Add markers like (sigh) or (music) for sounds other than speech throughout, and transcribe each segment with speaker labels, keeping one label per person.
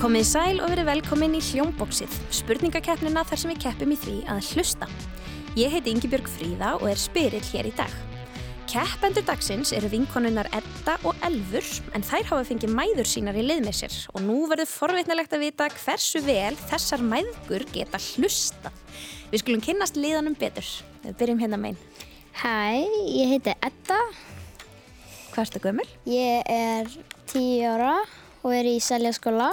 Speaker 1: Komið sæl og verið velkomin í Hljómboksið, spurningakeppnina þar sem við keppum í því að hlusta. Ég heiti Ingibjörg Fríða og er spyrill hér í dag. Keppendur dagsins eru vinkonunnar Edda og Elfur, en þær hafa fengið mæður sínar í lið með sér og nú verður forvitnilegt að vita hversu vel þessar mæðgur geta hlusta. Við skulum kynnast liðanum betur. Við byrjum hérna megin.
Speaker 2: Hæ, ég heiti Edda,
Speaker 1: Hvað ertu gömul?
Speaker 2: ég er 10 ára og er í seljaskóla.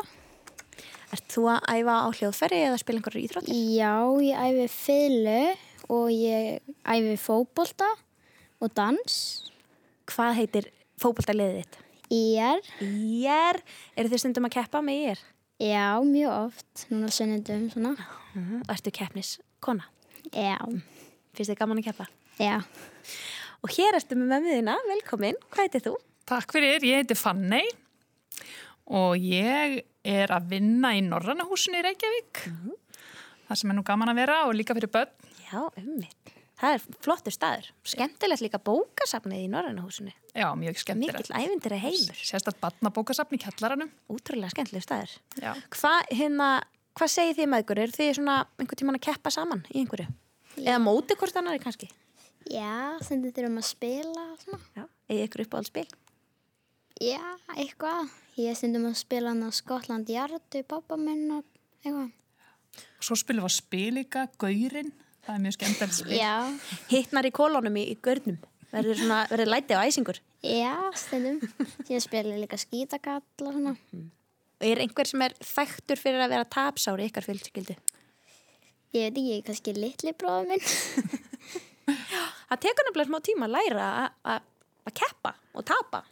Speaker 1: Ert þú að æfa á hljóðferri eða spila einhverjar íþrótt?
Speaker 2: Já, ég æfi fylgu og ég æfi fótbolta og dans.
Speaker 1: Hvað heitir fótboltaliðið þitt?
Speaker 2: Ég er,
Speaker 1: Ír, eru þið stundum að keppa með ír?
Speaker 2: já, mjög oft, núna sunnundum svona.
Speaker 1: Og ertu keppnis kona?
Speaker 2: Já,
Speaker 1: Finnst þið gaman að keppa?
Speaker 2: já,
Speaker 1: Og hér ertu með mömmuðina, velkomin, hvað heitir þú?
Speaker 3: Takk fyrir, ég heiti Fanney og ég er að vinna í Norrannahúsinu í Reykjavík. Það sem er nú gaman að vera og líka fyrir börn.
Speaker 1: Já, ummitt. Það er flottur staður. Skemmtilegt líka bókasafnið í Norrannahúsinu.
Speaker 3: Já, mjög skemmtilegt.
Speaker 1: Mikill ævindir að heimur.
Speaker 3: Sérstætt barnabókasafn í kjallaranum.
Speaker 1: Útrúlega skemmtileg staður.
Speaker 3: Já.
Speaker 1: Hvað hérna, hva segir þið með ykkur? Er þið svona einhvern tíman að keppa saman í einhverju? Eða móti hvort annari kannski?
Speaker 2: já, stundum þurfum að spila og svona.
Speaker 1: Já. Eða ykkur upp á alls spil?
Speaker 2: Já, eitthvað. Ég er stundum að spila hann á Skotland Jardu, pappa minn og eitthvað.
Speaker 3: Og svo spilum við á spilika, gaurinn. Það er mjög skemmtilegt spil.
Speaker 2: Já,
Speaker 1: Hittnar í kolónum í, í görnum. Verður svona, verður læti á æsingur.
Speaker 2: já, stundum. Ég spila ég líka skítakall og svona.
Speaker 1: Er einhver sem er þekktur fyrir að vera tapsári í ykkar fjölskyldu?
Speaker 2: Ég veit ekki, kannski litli bróður minn. (laughs)
Speaker 1: Það tekur nefnilega smá tíma að læra að- að að keppa og tapa.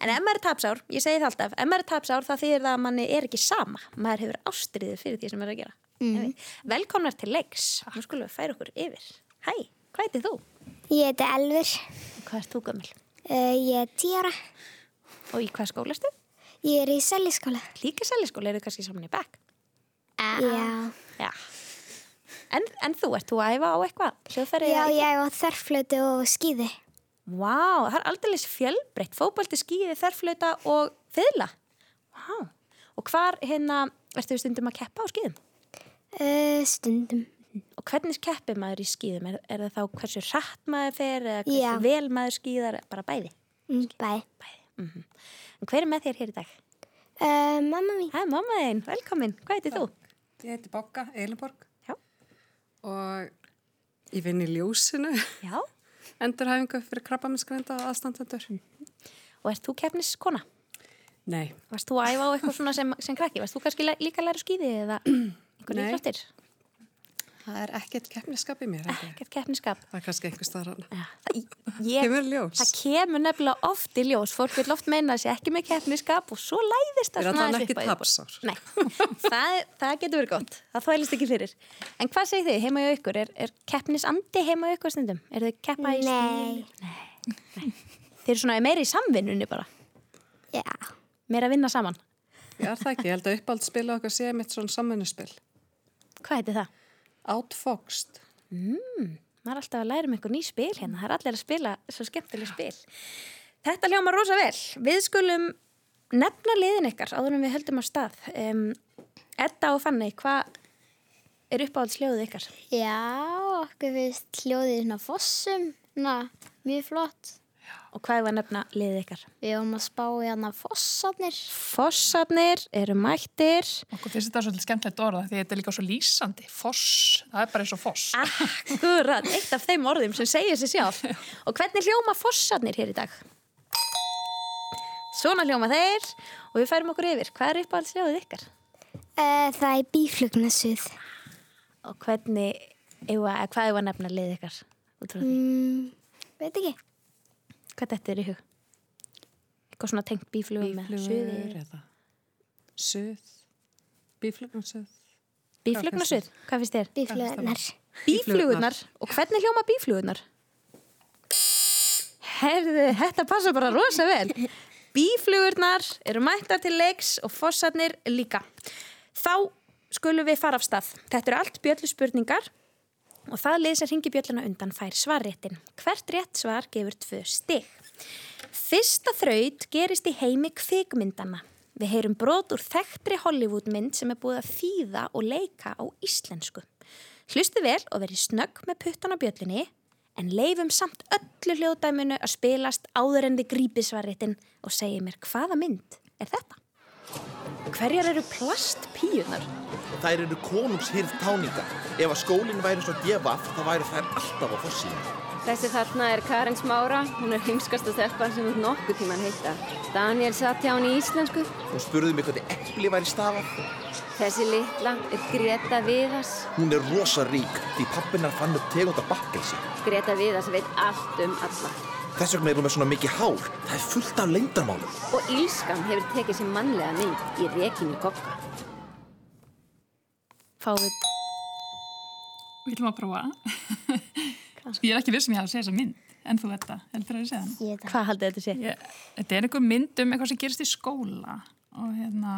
Speaker 1: En ef maður er tapsár, ég segi það alltaf, ef maður er tapsár það þýðir það að manni er ekki sama. Maður hefur ástriðið fyrir því sem maður er að gera. Mm. Velkomnar til leiks. Nú skulum við færa okkur yfir. Hæ, hvað heitir þú?
Speaker 2: Ég heiti Elfur,
Speaker 1: Hvað ert þú gömul?
Speaker 2: uh, ég er tíara,
Speaker 1: Og í hvað skólastu?
Speaker 2: ég er í seljaskóla.
Speaker 1: Líka sæliskóla eru kannski saman í bekk.
Speaker 2: Ah, Já,
Speaker 1: Já. En, en þú, ert þú að æfa á eitthvað? Hljóðfæri
Speaker 4: Já,
Speaker 1: eða-
Speaker 4: ég á þarflötu og skýði.
Speaker 1: Vá, það er aldrei fjölbreytt. Fótbalti, skíði, þerflöta og fiðla. Vá. Og hvar hérna ertu við stundum að keppa á skíðum?
Speaker 2: Eh,
Speaker 4: Uh, stundum.
Speaker 1: Og hvernig keppir maður í skíðum? Er, er það þá hversu hratt maður fer eða hversu
Speaker 4: Já.
Speaker 1: vel maður skíðar? Bara bæði.
Speaker 4: Mm, Bæ.
Speaker 1: bæði. Mm En hver er með þér hér í dag?
Speaker 2: Eh,
Speaker 4: Uh, mamma mín.
Speaker 1: Hæ, mamma þín, velkomin. Hvað heitir þú?
Speaker 5: Ég heiti Bokka Eilinborg
Speaker 1: Já.
Speaker 5: og ég vinn í ljósinu, (laughs)
Speaker 1: Já.
Speaker 5: endurhæfingu fyrir krabbaminsgreinda aðstandendur.
Speaker 1: Og ert þú keppniskona?
Speaker 5: Nei,
Speaker 1: Varst þú að æfa á eitthvað svona sem, sem krakki? Varst þú kannski læ- líka að læra skíði eða einhvern
Speaker 5: Nei.
Speaker 1: íþróttir?
Speaker 5: það er ekkert keppniskap í mér. held ég.
Speaker 1: Ekkert keppniskap?
Speaker 5: Það er kannski einhver staðrann.
Speaker 1: Já, það, ég,
Speaker 5: Kemur í ljós.
Speaker 1: það kemur nefnilega oft í ljós fólk vil oft meina þessi ekki með keppniskap og svo læðist það
Speaker 5: Er
Speaker 1: svona
Speaker 5: allan
Speaker 1: aðeins
Speaker 5: ekki
Speaker 1: upp á yfirborð.
Speaker 5: tapsár.
Speaker 1: Nei, það, það getur verið gott það þvælist ekki fyrir en hvað segir þið heima í ykkur, er, er keppnisandi heima í ykkur stundum, er þið keppa í stíl
Speaker 4: Nei.
Speaker 1: þið eru svona meira í samvinnunni bara
Speaker 4: Já.
Speaker 1: meira að vinna saman,
Speaker 5: Ég er það ekki, ég held að uppáld spila okkar sé mitt svona samvinnuspil.
Speaker 1: hvað heitir það?
Speaker 5: Outfoxed.
Speaker 1: maður er alltaf að læra um einhver ný spil hérna, það er allir að spila svo skemmtileg spil. Þetta hljóma rosa vel. Við skulum nefna liðin ykkar áður en við höldum á stað. Um, Edda og Fanny, hvað er uppáhaldsljóðið ykkar?
Speaker 2: já, okkur finnst hljóðið í svona fossum, na, mjög flott.
Speaker 1: Og hvað er að nefna liðið ykkar?
Speaker 2: Við vorum að spá í hana fossarnir.
Speaker 1: Fossarnir eru mættir.
Speaker 3: Okkur finnst þetta svolítið skemmtilegt orða því þetta er líka svo lýsandi. Foss, það er bara eins og foss.
Speaker 1: Akkurat, eitt af þeim orðum sem segir sér sjálf. Og hvernig hljóma fossarnir hér í dag? Svona hljóma þeir og við færum okkur yfir. Hvað er uppáhaldsljóðið ykkar?
Speaker 2: Eh,
Speaker 4: Uh, það er bíflugnasuð.
Speaker 1: Og hvernig, eða, hvað hefur að nefna lið ykkar? út frá því?
Speaker 4: Mm, veit ekki.
Speaker 1: Hvað þetta er í hug? Eitthvað svona tengt bíflugum með
Speaker 5: Bíflugur
Speaker 1: suði?
Speaker 5: eða suð. Bíflugunsuð.
Speaker 1: Bíflugna
Speaker 5: Hvað finnst
Speaker 1: suð? Hvað finnst þér?
Speaker 4: Bíflugnar.
Speaker 1: Bíflugurnar. Og hvernig hljóma bíflugurnar? Herðu, þetta passa bara rosa vel. Bíflugurnar eru mættar til leiks og fossarnir líka. Þá skulum við fara af stað. Þetta eru allt bjöllu spurningar og það lið sem ringi bjölluna undan fær svarréttin. Hvert rétt svar gefur tvö stig. Fyrsta þraut gerist í heimi kvikmyndana. Við heyrum brot úr þekktri Hollywoodmynd sem er búið að þýða og leika á íslensku. Hlustu vel og verið snögg með puttan á bjöllinni en leifum samt öllu hljóðdæminu að spilast áður en við grípisvarritin og segir mér hvaða mynd er þetta? Hverjar eru plastpíunar?
Speaker 6: Þær eru konungshyrð táninga. Ef að skólinn væri svo djefaf, þá væri þær alltaf á fossíðum.
Speaker 7: Þessi þarna er Karin Smára, hún er heimskasta stelpan sem hún nokkuð tíman heita. Daniel satt hjá hún í íslensku.
Speaker 6: Hún spurði mig hvernig epli væri stafað.
Speaker 7: Þessi litla er Greta Viðars.
Speaker 6: Hún er rosa rík því pappinar fann upp tegunda bakkelsi.
Speaker 7: Greta Viðars veit allt um alla.
Speaker 6: Þess vegna er hún með svona mikið hár. Það er fullt af leyndarmálum.
Speaker 7: Og Ílskan hefur tekið sér mannlega mynd í rekinu kokka.
Speaker 1: Fáum við
Speaker 3: Við viljum að prófa. Sko, (laughs) ég er ekki viss sem ég hafa að segja þessa mynd, en þú þetta, heldur að ég segja hana.
Speaker 2: Ég veit það.
Speaker 1: hvað haldið þetta sé?
Speaker 3: Ég, þetta er einhver mynd um eitthvað sem gerist í skóla og hérna,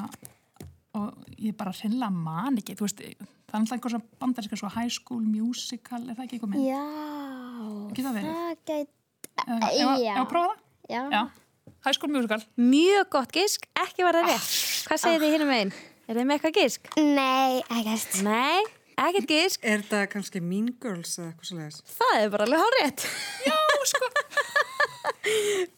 Speaker 3: og ég bara hreinlega man ekki, þú veist, það er alltaf einhver svo bandar, eitthvað svo high school musical, er það ekki einhver mynd?
Speaker 2: Já.
Speaker 3: Getur það verið?
Speaker 2: Það gæti,
Speaker 3: Ef ef að-
Speaker 2: já.
Speaker 3: ef að prófa það?
Speaker 2: já.
Speaker 3: Já. High school musical.
Speaker 1: Mjög gott gisk, ekki var það rétt.
Speaker 3: Ah,
Speaker 1: Hvað segir þið hinum einn? Er þið með eitthvað gisk?
Speaker 4: Nei, ekkert.
Speaker 1: Nei, ekkert gisk,
Speaker 5: Er það kannski Mean Girls eða eitthvað svolítið?
Speaker 1: það er bara alveg hár rétt.
Speaker 3: Já,
Speaker 1: (laughs)
Speaker 3: sko.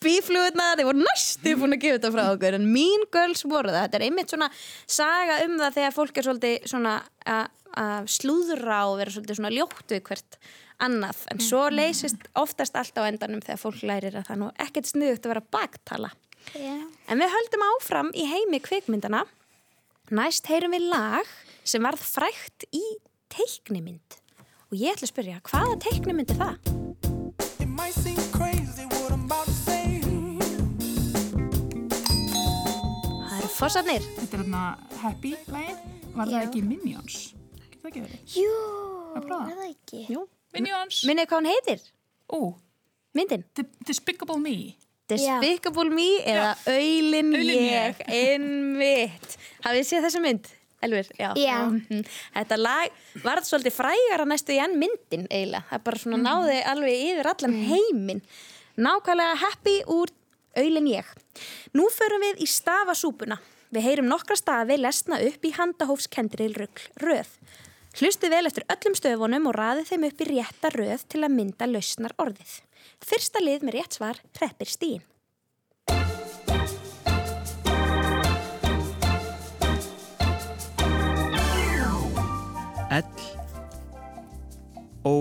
Speaker 1: Bíflugurna, þið voru næstu búin að gefa þetta frá okkur, en Mean Girls voru það. Þetta er einmitt svona saga um það þegar fólk er svolítið svona að- að slúðra og vera svolítið svona ljótt við hvert annað. En svo leysist oftast allt á endanum þegar fólk lærir að það er nú ekkert sniðugt að vera baktala.
Speaker 2: Já.
Speaker 1: En við höldum áfram í heimi kvikmyndana. Næst heyrum við lag sem varð frækt í teiknimynd. Og ég ætla að spyrja, hvaða teiknimynd er það?
Speaker 8: It might seem crazy what I'm about to say.
Speaker 1: Það eru fossarnir.
Speaker 3: Þetta er hérna Happy lagið, var það ekki Minions? Getur það ekki verið?
Speaker 2: Jú,
Speaker 3: Að prófa?
Speaker 2: var það ekki?
Speaker 1: Jú.
Speaker 3: Minions.
Speaker 1: Minnið hvað hún heitir?
Speaker 3: Ó,
Speaker 1: Myndin.
Speaker 3: The- Despicable Me.
Speaker 1: Despicable Me eða Öylin
Speaker 3: Aulinn
Speaker 1: ég,
Speaker 3: ég.
Speaker 1: einmitt. Hafið þið séð þessa mynd? Elvir, já.
Speaker 4: Já.
Speaker 1: Mhm. Þetta lag varð svolítið frægara næstu í enn myndin eiginlega. Það bara svona náði alveg yfir allan heiminn. Nákvæmlega happy úr Öylin ég. Nú förum við í stafasúpuna. Við heyrum nokkra stafi lesna upp í handahófskendril röð. Hlustu vel eftir öllum stöfunum og raðið þeim upp í rétta röð til að mynda lausnar orðið. Fyrsta lið með rétt svar treppir stíin.
Speaker 9: L Ó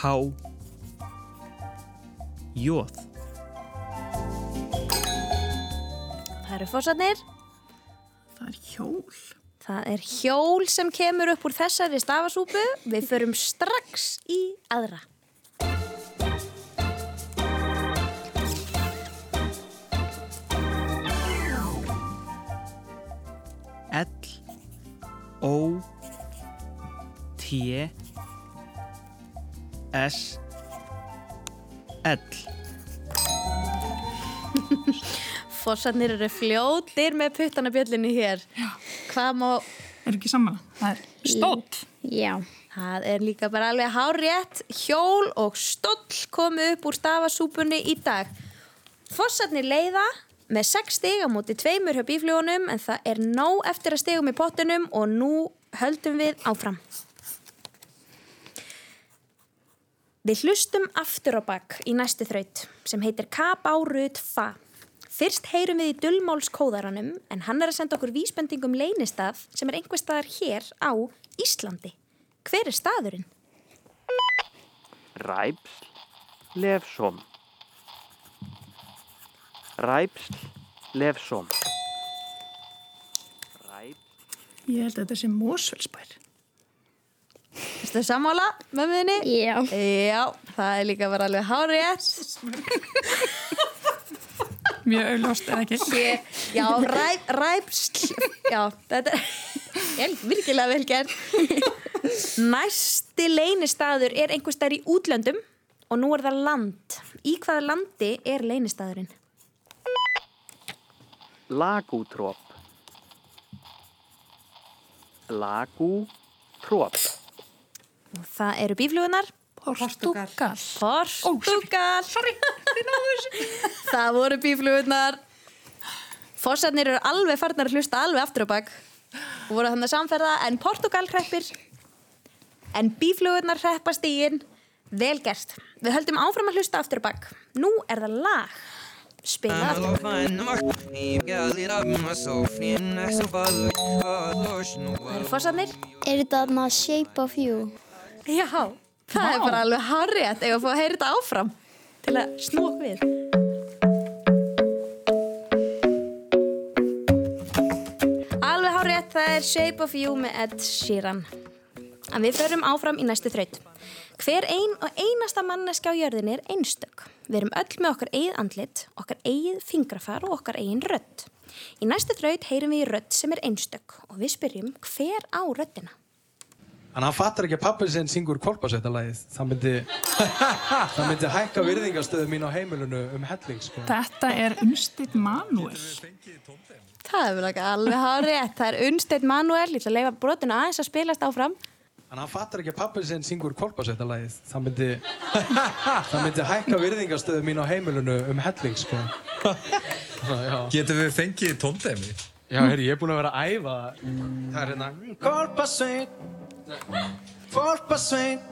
Speaker 9: Há Jóð
Speaker 1: Það eru fórsatnir.
Speaker 3: Það er hjól.
Speaker 1: Það er hjól sem kemur upp úr þessari stafasúpu. Við förum strax í aðra.
Speaker 9: L Ó T S L
Speaker 1: Fórsatnir eru fljótir með puttana bjöllinu hér. Hvað má...
Speaker 3: Er ekki sammála? Það er stóll.
Speaker 2: Já.
Speaker 1: Það er líka bara alveg hárétt. Hjól og stóll komu upp úr stafasúpunni í dag. Fossarnir leiða með 6 stig á móti tveimur hjá bíflugunum en það er nóg eftir að stigum í pottunum og nú höldum við áfram. Við hlustum aftur á bakk í næstu þraut sem heitir Kabárut Fa. Fyrst heyrum við í dullmálskóðaranum en hann er að senda okkur vísbendingum leynistað sem er einhver staðar hér á Íslandi. Hver er staðurinn?
Speaker 10: Ræpsl Lefsom Ræpsl Lefsom Ræpsl
Speaker 3: Ég held að þetta sé Mósfellsbær.
Speaker 1: Erstu sammála mömmuðinni?
Speaker 2: Já.
Speaker 1: Já, það er líka bara alveg hárétt.
Speaker 3: Mjög auðljóst eða ekki.
Speaker 1: Ég- Já, ræp, ræpsl. Já, þetta er ég er virkilega vel gert. Næsti leynistaður er einhvers staðar í útlöndum og nú er það land. Í hvaða landi er leynistaðurinn?
Speaker 10: Lagútrop Lagútrop
Speaker 1: Og það eru bíflugunar.
Speaker 5: Portugal.
Speaker 1: Portugal. sorry, þið náðu þessu. það voru bíflugunar. Fossarnir eru alveg farnar að hlusta alveg aftur á bak og voru þannig að samferða en Portugal kreppir en bíflugurnar hreppa stígin vel gert. Við höldum áfram að hlusta aftur á bak. Nú er það lag. Spila aftur á bak. Það eru fossarnir.
Speaker 2: Er þetta þarna Shape of You?
Speaker 1: Já, það er bara alveg harriðat ef að fá að heyra þetta áfram til að snúa okkur við. Alveg hárétt, það er Shape of You með Ed Sheeran. En við förum áfram í næstu þraut. Hver ein og einasta manneska á jörðinni er einstök. Við erum öll með okkar eigið andlit, okkar eigið fingrafar og okkar eigin rödd. Í næstu þraut heyrum við í rödd sem er einstök og við spyrjum hver á röddina.
Speaker 11: En hann fattar ekki að pappin sinn syngur kolpasettalagið. Það myndi, (laughs) það myndi hækka virðingastöðu mín á heimilinu um helling, sko.
Speaker 3: Þetta er Unnstedt Manuel.
Speaker 1: Það er vel ekki alveg hárétt. Það er Unnsteinn Manuel, ég ætla að leifa brotinu aðeins að spilast áfram.
Speaker 11: En hann fattar ekki að pappin sinn syngur kolpasettalagið. Það myndi, (laughs) það myndi hækka virðingastöðu mín á heimilinu um helling, sko.
Speaker 12: Getum við fengið tóndæmi?
Speaker 11: Já, herri, ég er búinn að vera að æfa. Það er hérna...
Speaker 8: Kolpasveit Kolpasveit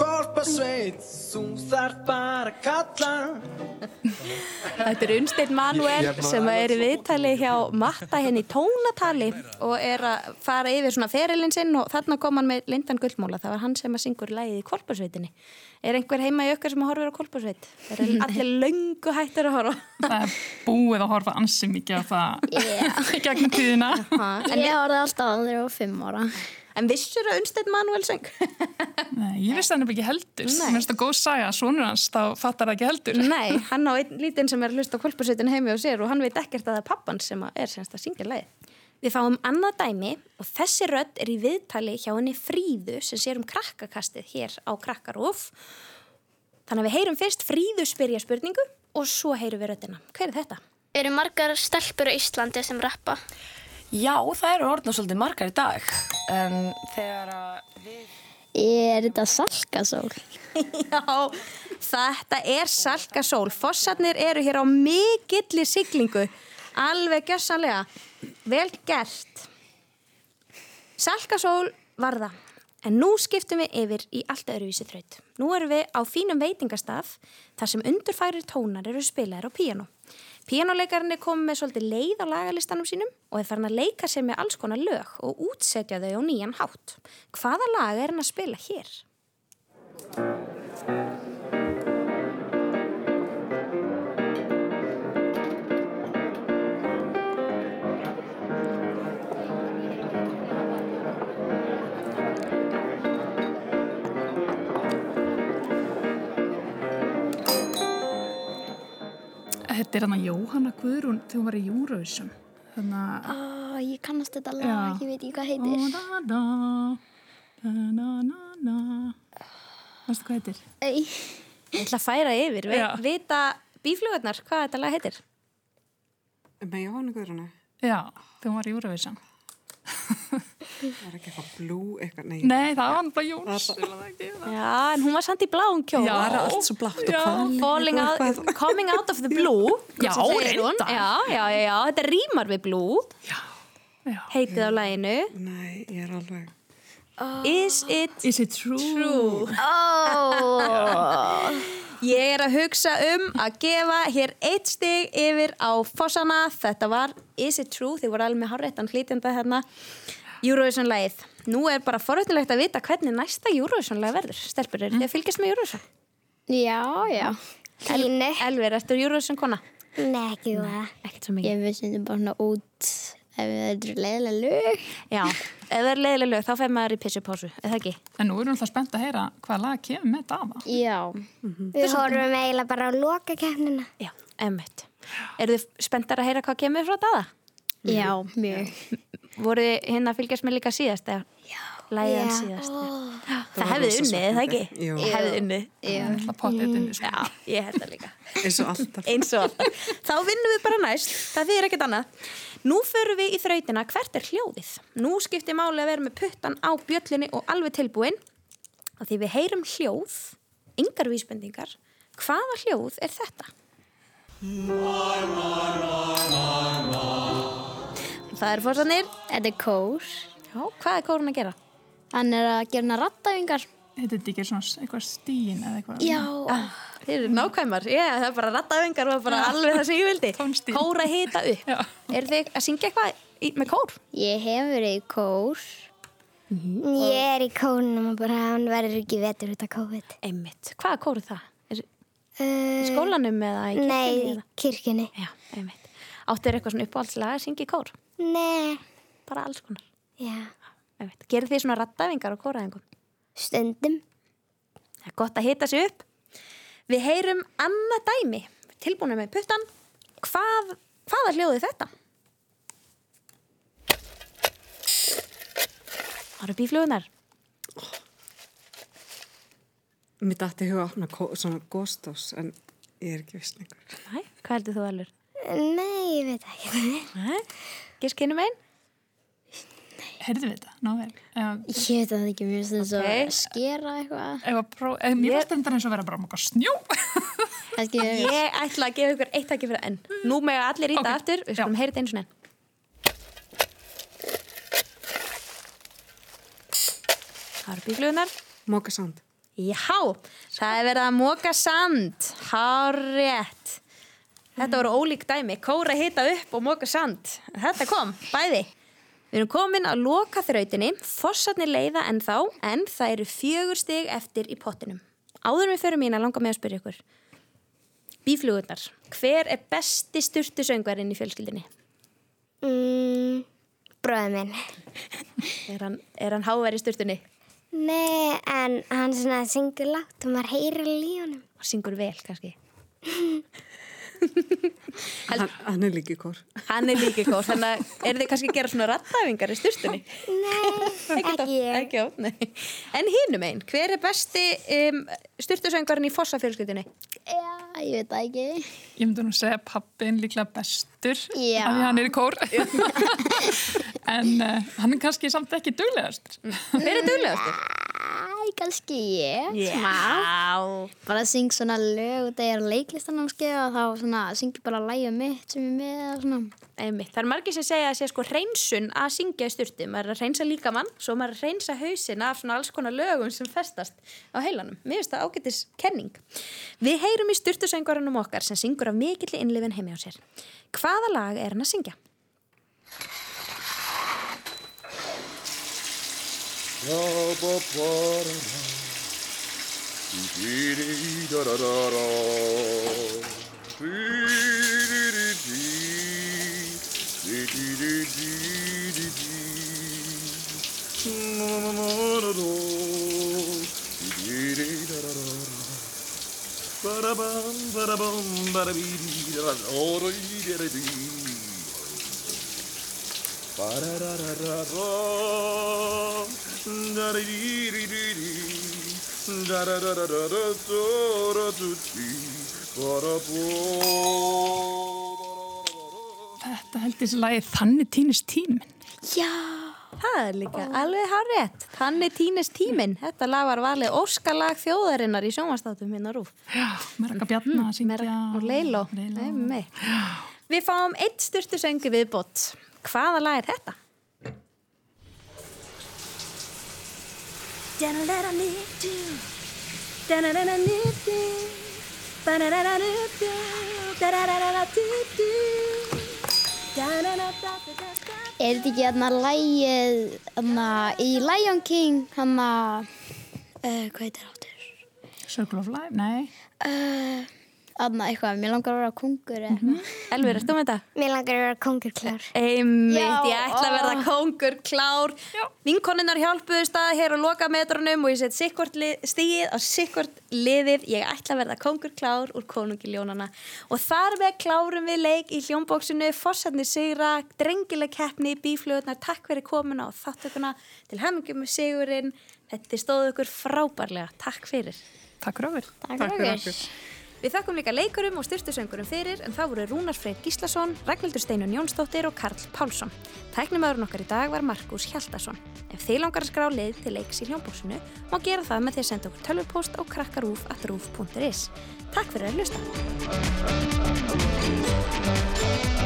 Speaker 8: Kolpasveit Þú þarf bara að kalla
Speaker 1: Þetta er Unnsteinn Manuel
Speaker 8: Ég- ég-
Speaker 1: sem er í viðtali hjá Matta henni í tónatali og er að fara yfir svona ferilinn sinn og þarna kom hann með Lindan Guldmóla. Það var hann sem að syngur lagið í Kolparsveitinni. Er einhver heima í okkar sem horfir á Kolparsveit?
Speaker 8: (laughs)
Speaker 1: Það er allir löngu hættur að horfa.
Speaker 3: Það er búið að horfa ansi mikið á það í gegnum tíðina.
Speaker 1: En ég horfði alltaf að þeirra á fimm ára. En vissur að Unnsteinn Manuel söng?
Speaker 3: Nei, ég veist það nefnilega ekki heldur.
Speaker 1: Nei.
Speaker 3: Mér finnst það góð saga að sonur hans þá fattar það ekki heldur.
Speaker 13: Mm.
Speaker 1: (laughs) Nei, hann á einn lítinn sem er að hlusta á kolpasveitin heimi og sér og hann veit ekkert að það er pappan sem að er semst að syngja lagið. Við fáum annað dæmi og þessi rödd er í viðtali hjá henni Fríðu sem sér um krakkakastið hér á Krakkaróf. Þannig að við heyrum fyrst Fríðu spyrja spurningu og svo heyrum við röddina. Hver er þetta?
Speaker 14: Eru margar stelpur á Íslandi sem rappa?
Speaker 13: Já, það eru orðna svolítið margar í dag. En þegar að við...
Speaker 2: Er þetta Salkasól?
Speaker 1: (laughs) Já, þetta er Salkasól. Fossarnir eru hér á mikilli siglingu. Alveg gjössanlega. Vel gert. Salkasól var það. En nú skiptum við yfir í allt öðruvísi þraut. Nú erum við á fínum veitingastaf þar sem undurfærir tónar eru spilaðir á píano. Píanoleikarinn er komið með svolítið leið á lagalistanum sínum og er farin að leika sér með alls konar lög og útsetja þau á nýjan hátt. Hvaða lag er hann að spila hér?
Speaker 3: Þetta er hann að Jóhanna Guðrún þegar hún var í Eurovision. Þannig að...
Speaker 2: Ó, ég kannast þetta lag,
Speaker 3: Já.
Speaker 2: ég veit ekki hvað heitir.
Speaker 3: Da, da, da, na, na, na. Veistu hvað heitir?
Speaker 2: Ei.
Speaker 1: Ég ætla að færa yfir. Ve
Speaker 3: Já.
Speaker 1: vita bíflugurnar hvað þetta lag heitir?
Speaker 5: Með Jóhannu Guðrúnu?
Speaker 3: Já, þegar hún var í Eurovision.
Speaker 5: Var ekki eitthvað blú eitthvað? Nei,
Speaker 3: Nei, það var bara Jóns.
Speaker 1: Já, en hún var samt í bláum kjól.
Speaker 5: Já, það er allt svo blátt og
Speaker 1: Já.
Speaker 5: hvalirnir
Speaker 1: Falling
Speaker 5: og
Speaker 1: out, coming out of the blue.
Speaker 5: Já,
Speaker 1: sem segir hún.
Speaker 5: reyndar.
Speaker 1: Já, já, já, já, þetta rýmar við blue. Já,
Speaker 3: já.
Speaker 1: Heitið á læginu.
Speaker 5: Nei, ég er alveg...
Speaker 1: Is it,
Speaker 3: Is it true?
Speaker 1: true? Oh. Ég er að hugsa um að gefa hér eitt stig yfir á fossana. Þetta var Is it true? Þið voru alveg með háréttan hlítjanda hérna. Eurovision-lægið. Nú er bara forveitinlegt að vita hvernig næsta Eurovision-læg verður. Stelpur, eru þið að fylgjast með Eurovision?
Speaker 2: Já, já.
Speaker 1: El, Elvir, ertu Eurovision kona?
Speaker 2: Nei, ekki það.
Speaker 1: Ekkert svo mikið.
Speaker 2: Ég við syndum bara svona út ef það eru leiðilega lög.
Speaker 1: Já, ef það er leiðileg lög, þá fer maður í pissupásu, eða ekki?
Speaker 3: En nú erum við alltaf spennt að heyra hvað lag kemur með Dava.
Speaker 2: Já.
Speaker 4: Við horfum eiginlega bara á loka keppnina.
Speaker 1: Já, emmitt. Eru þið spenntar að heyra hvað kemur frá daða?
Speaker 2: Já, mjög.
Speaker 1: Voru þið hinn að fylgjast með líka síðast eða? Já. Læðan síðast.
Speaker 2: Oh.
Speaker 1: Það hefði
Speaker 5: rosa
Speaker 1: unnið, eða ekki?
Speaker 5: svekkjandi. Jú.
Speaker 1: Hefði unnið.
Speaker 2: Já.
Speaker 3: Það potið unnið.
Speaker 1: Já, ég held það líka.
Speaker 5: Eins og (laughs) alltaf.
Speaker 1: Eins og alltaf. Þá vinnum við bara næst, það fyrir ekkert annað. Nú förum við í þrautina, hvert er hljóðið? Nú skiptir máli að vera með puttan á bjöllinni og alveg tilbúin. Og því við heyrum hljóð, yngar vísbendingar, hvaða hljóð er þetta? Það er fórsanir.
Speaker 2: Þetta er kór.
Speaker 1: Já, hvað er kórun að gera?
Speaker 2: Hann er að gera rattaðingar.
Speaker 3: Heitir þetta ekki svona s- eitthvað stíin eða eitthvað?
Speaker 2: Já.
Speaker 1: Ah, Þeir eru nákvæmar. Já, það er bara rattaðingar og bara alveg það sem ég vildi. Tónstíl. Kóra hita upp. Eru þið að syngja eitthvað í, með kór?
Speaker 2: Ég hef verið í kór.
Speaker 4: Mhm. Ég er í kórnum og bara hann verður ekki vetur út af COVID. Uh,
Speaker 1: Einmitt. Hvaða kór er það? Er, í skólanum eða í
Speaker 4: nei, í
Speaker 1: kirkjunni? Já, einmitt. Áttu þér eitthvað svona uppáhaldslag að syngja í kór?
Speaker 4: Nei.
Speaker 1: Bara alls konar.
Speaker 4: Já.
Speaker 1: Einmitt. Gerðu þið svona rattaðingar og kóraðingum?
Speaker 4: Stundum.
Speaker 1: Það er gott að hita sig upp. Við heyrum annað dæmi. Tilbúinu með puttan. Hvað, hvaða hljóðu er þetta? Það eru bíflugunar.
Speaker 5: Mér dætti huga að opna kó- svona góstós en ég er ekki viss lengur.
Speaker 1: Næ, hvað heldur þú alveg?
Speaker 4: Nei, ég veit ekki.
Speaker 1: Nei. Gískinum einn?
Speaker 3: Herðu við þetta, náðu vel. Um,
Speaker 2: Ég veit að það ekki mjög stund svo
Speaker 3: Ókei.
Speaker 2: skera eitthvað.
Speaker 3: Ef að próf, ef mér finnst þetta eins og vera bara um eitthvað snjó.
Speaker 1: Ég ætla að gefa ykkur eitt takki fyrir enn. Nú með allir íta aftur. Við skulum heyra þetta eins og enn. Það eru bíflugunar.
Speaker 5: Mókasand.
Speaker 1: Já, það er verið að móka sand. Hárétt. Þetta voru ólík dæmi. Kóra hita upp og móka sand. Þetta kom, bæði. Við erum komin að loka þrautinni. Fossarnir leiða en þá, en það eru fjögur stig eftir í pottinum. Áður en við förum mín að langa með að spyrja ykkur. Bíflugurnar, hver er besti styrtusöngvarinn í fjölskyldinni?
Speaker 4: Mm, Bróðið minn.
Speaker 1: Er hann, er hann háverið styrtunni?
Speaker 4: Nei, en hann svona syngur lágt og maður heyrir alveg í honum.
Speaker 1: Og syngur vel, kannski.
Speaker 5: Hann, hann er líki kór.
Speaker 1: Hann er líka góð, þannig að er þið kannski að gera svona rattæfingar í styrstunni?
Speaker 4: Nei,
Speaker 1: ekki ég. Ekki á, nei. En hinum einn, hver er besti um, styrtusöngvarinn í fossafjölskyldinni?
Speaker 2: Já, ég veit það ekki.
Speaker 3: Ég myndi nú segja pappin líklega bestur
Speaker 2: Já.
Speaker 3: af því hann er í
Speaker 2: (laughs)
Speaker 3: kór. en uh, hann er kannski samt ekki duglegast.
Speaker 1: Hver er duglegastur?
Speaker 2: Æ, kannski ég.
Speaker 1: Já.
Speaker 2: Smá. Bara syng svona lög og það er leiklistanámskeið og þá svona syngi bara lægið mitt sem ég er með og svona.
Speaker 1: Einmitt. Það er margir sem segja að sé sko hreinsun að syngja í styrtu. Maður er að hreinsa líkamann, svo maður er að hreinsa hausin af svona alls konar lögum sem festast á heilanum. Mér finnst það ágætis kenning. Við heyrum í styrtusöngvarunum okkar sem syngur af mikilli innlifin heimi á sér. Hvaða lag er hann að syngja?
Speaker 3: Þetta held ég sér lagið Þannig týnist tíminn.
Speaker 1: Já. Það er líka alveg hárétt. Þannig týnist tíminn. Þetta lag var valið óskalag þjóðarinnar í sjónvastátum hérna rúf.
Speaker 3: Já, Merka
Speaker 2: Mm-hmm.
Speaker 3: Bjarna að syngja.
Speaker 1: Og Leiló. Nei, Við fáum eitt styrtusöngu viðbót. Hvaða lag er þetta?
Speaker 2: Er þetta ekki hérna lægið hérna í Lion King, hérna, uh, hvað heitir áttur?
Speaker 3: Circle of Life, nei.
Speaker 2: Uh, hérna eitthvað, mér langar að vera kongur eða eitthvað.
Speaker 1: Elvir, ertu með þetta?
Speaker 4: Mér langar að vera kongur klár.
Speaker 1: Einmitt,
Speaker 4: Já, ah.
Speaker 1: ég ætla að verða
Speaker 4: ó.
Speaker 1: kóngur, klár. Vinkoninnar hjálpuðu stað hér á lokametrunum og ég set sikkvort stíð á sikkvort liðið. Ég ætla að verða kóngur, klár úr konungiljónana. Og þar með klárum við leik í hljómbóksinu, fórsatni sigra, drengileg keppni, bíflöðunar, takk fyrir komuna og þáttökuna til hemmingum með sigurinn. Þetta stóðu ykkur frábærlega. Takk fyrir.
Speaker 3: Takk fyrir okkur.
Speaker 2: Takk fyrir okkur.
Speaker 1: Við þakkum líka leikurum og styrtusöngurum fyrir en þá voru Rúnar Freyr Gíslason, Ragnhildur Steinun Jónsdóttir og Karl Pálsson. Tæknimaðurinn okkar í dag var Markus Hjaldason. Ef þið langar að skrá leið til leiks í hljómbúsinu má gera það með því að senda okkur tölvupóst á krakkarúf.rúf.is Takk fyrir að hlusta!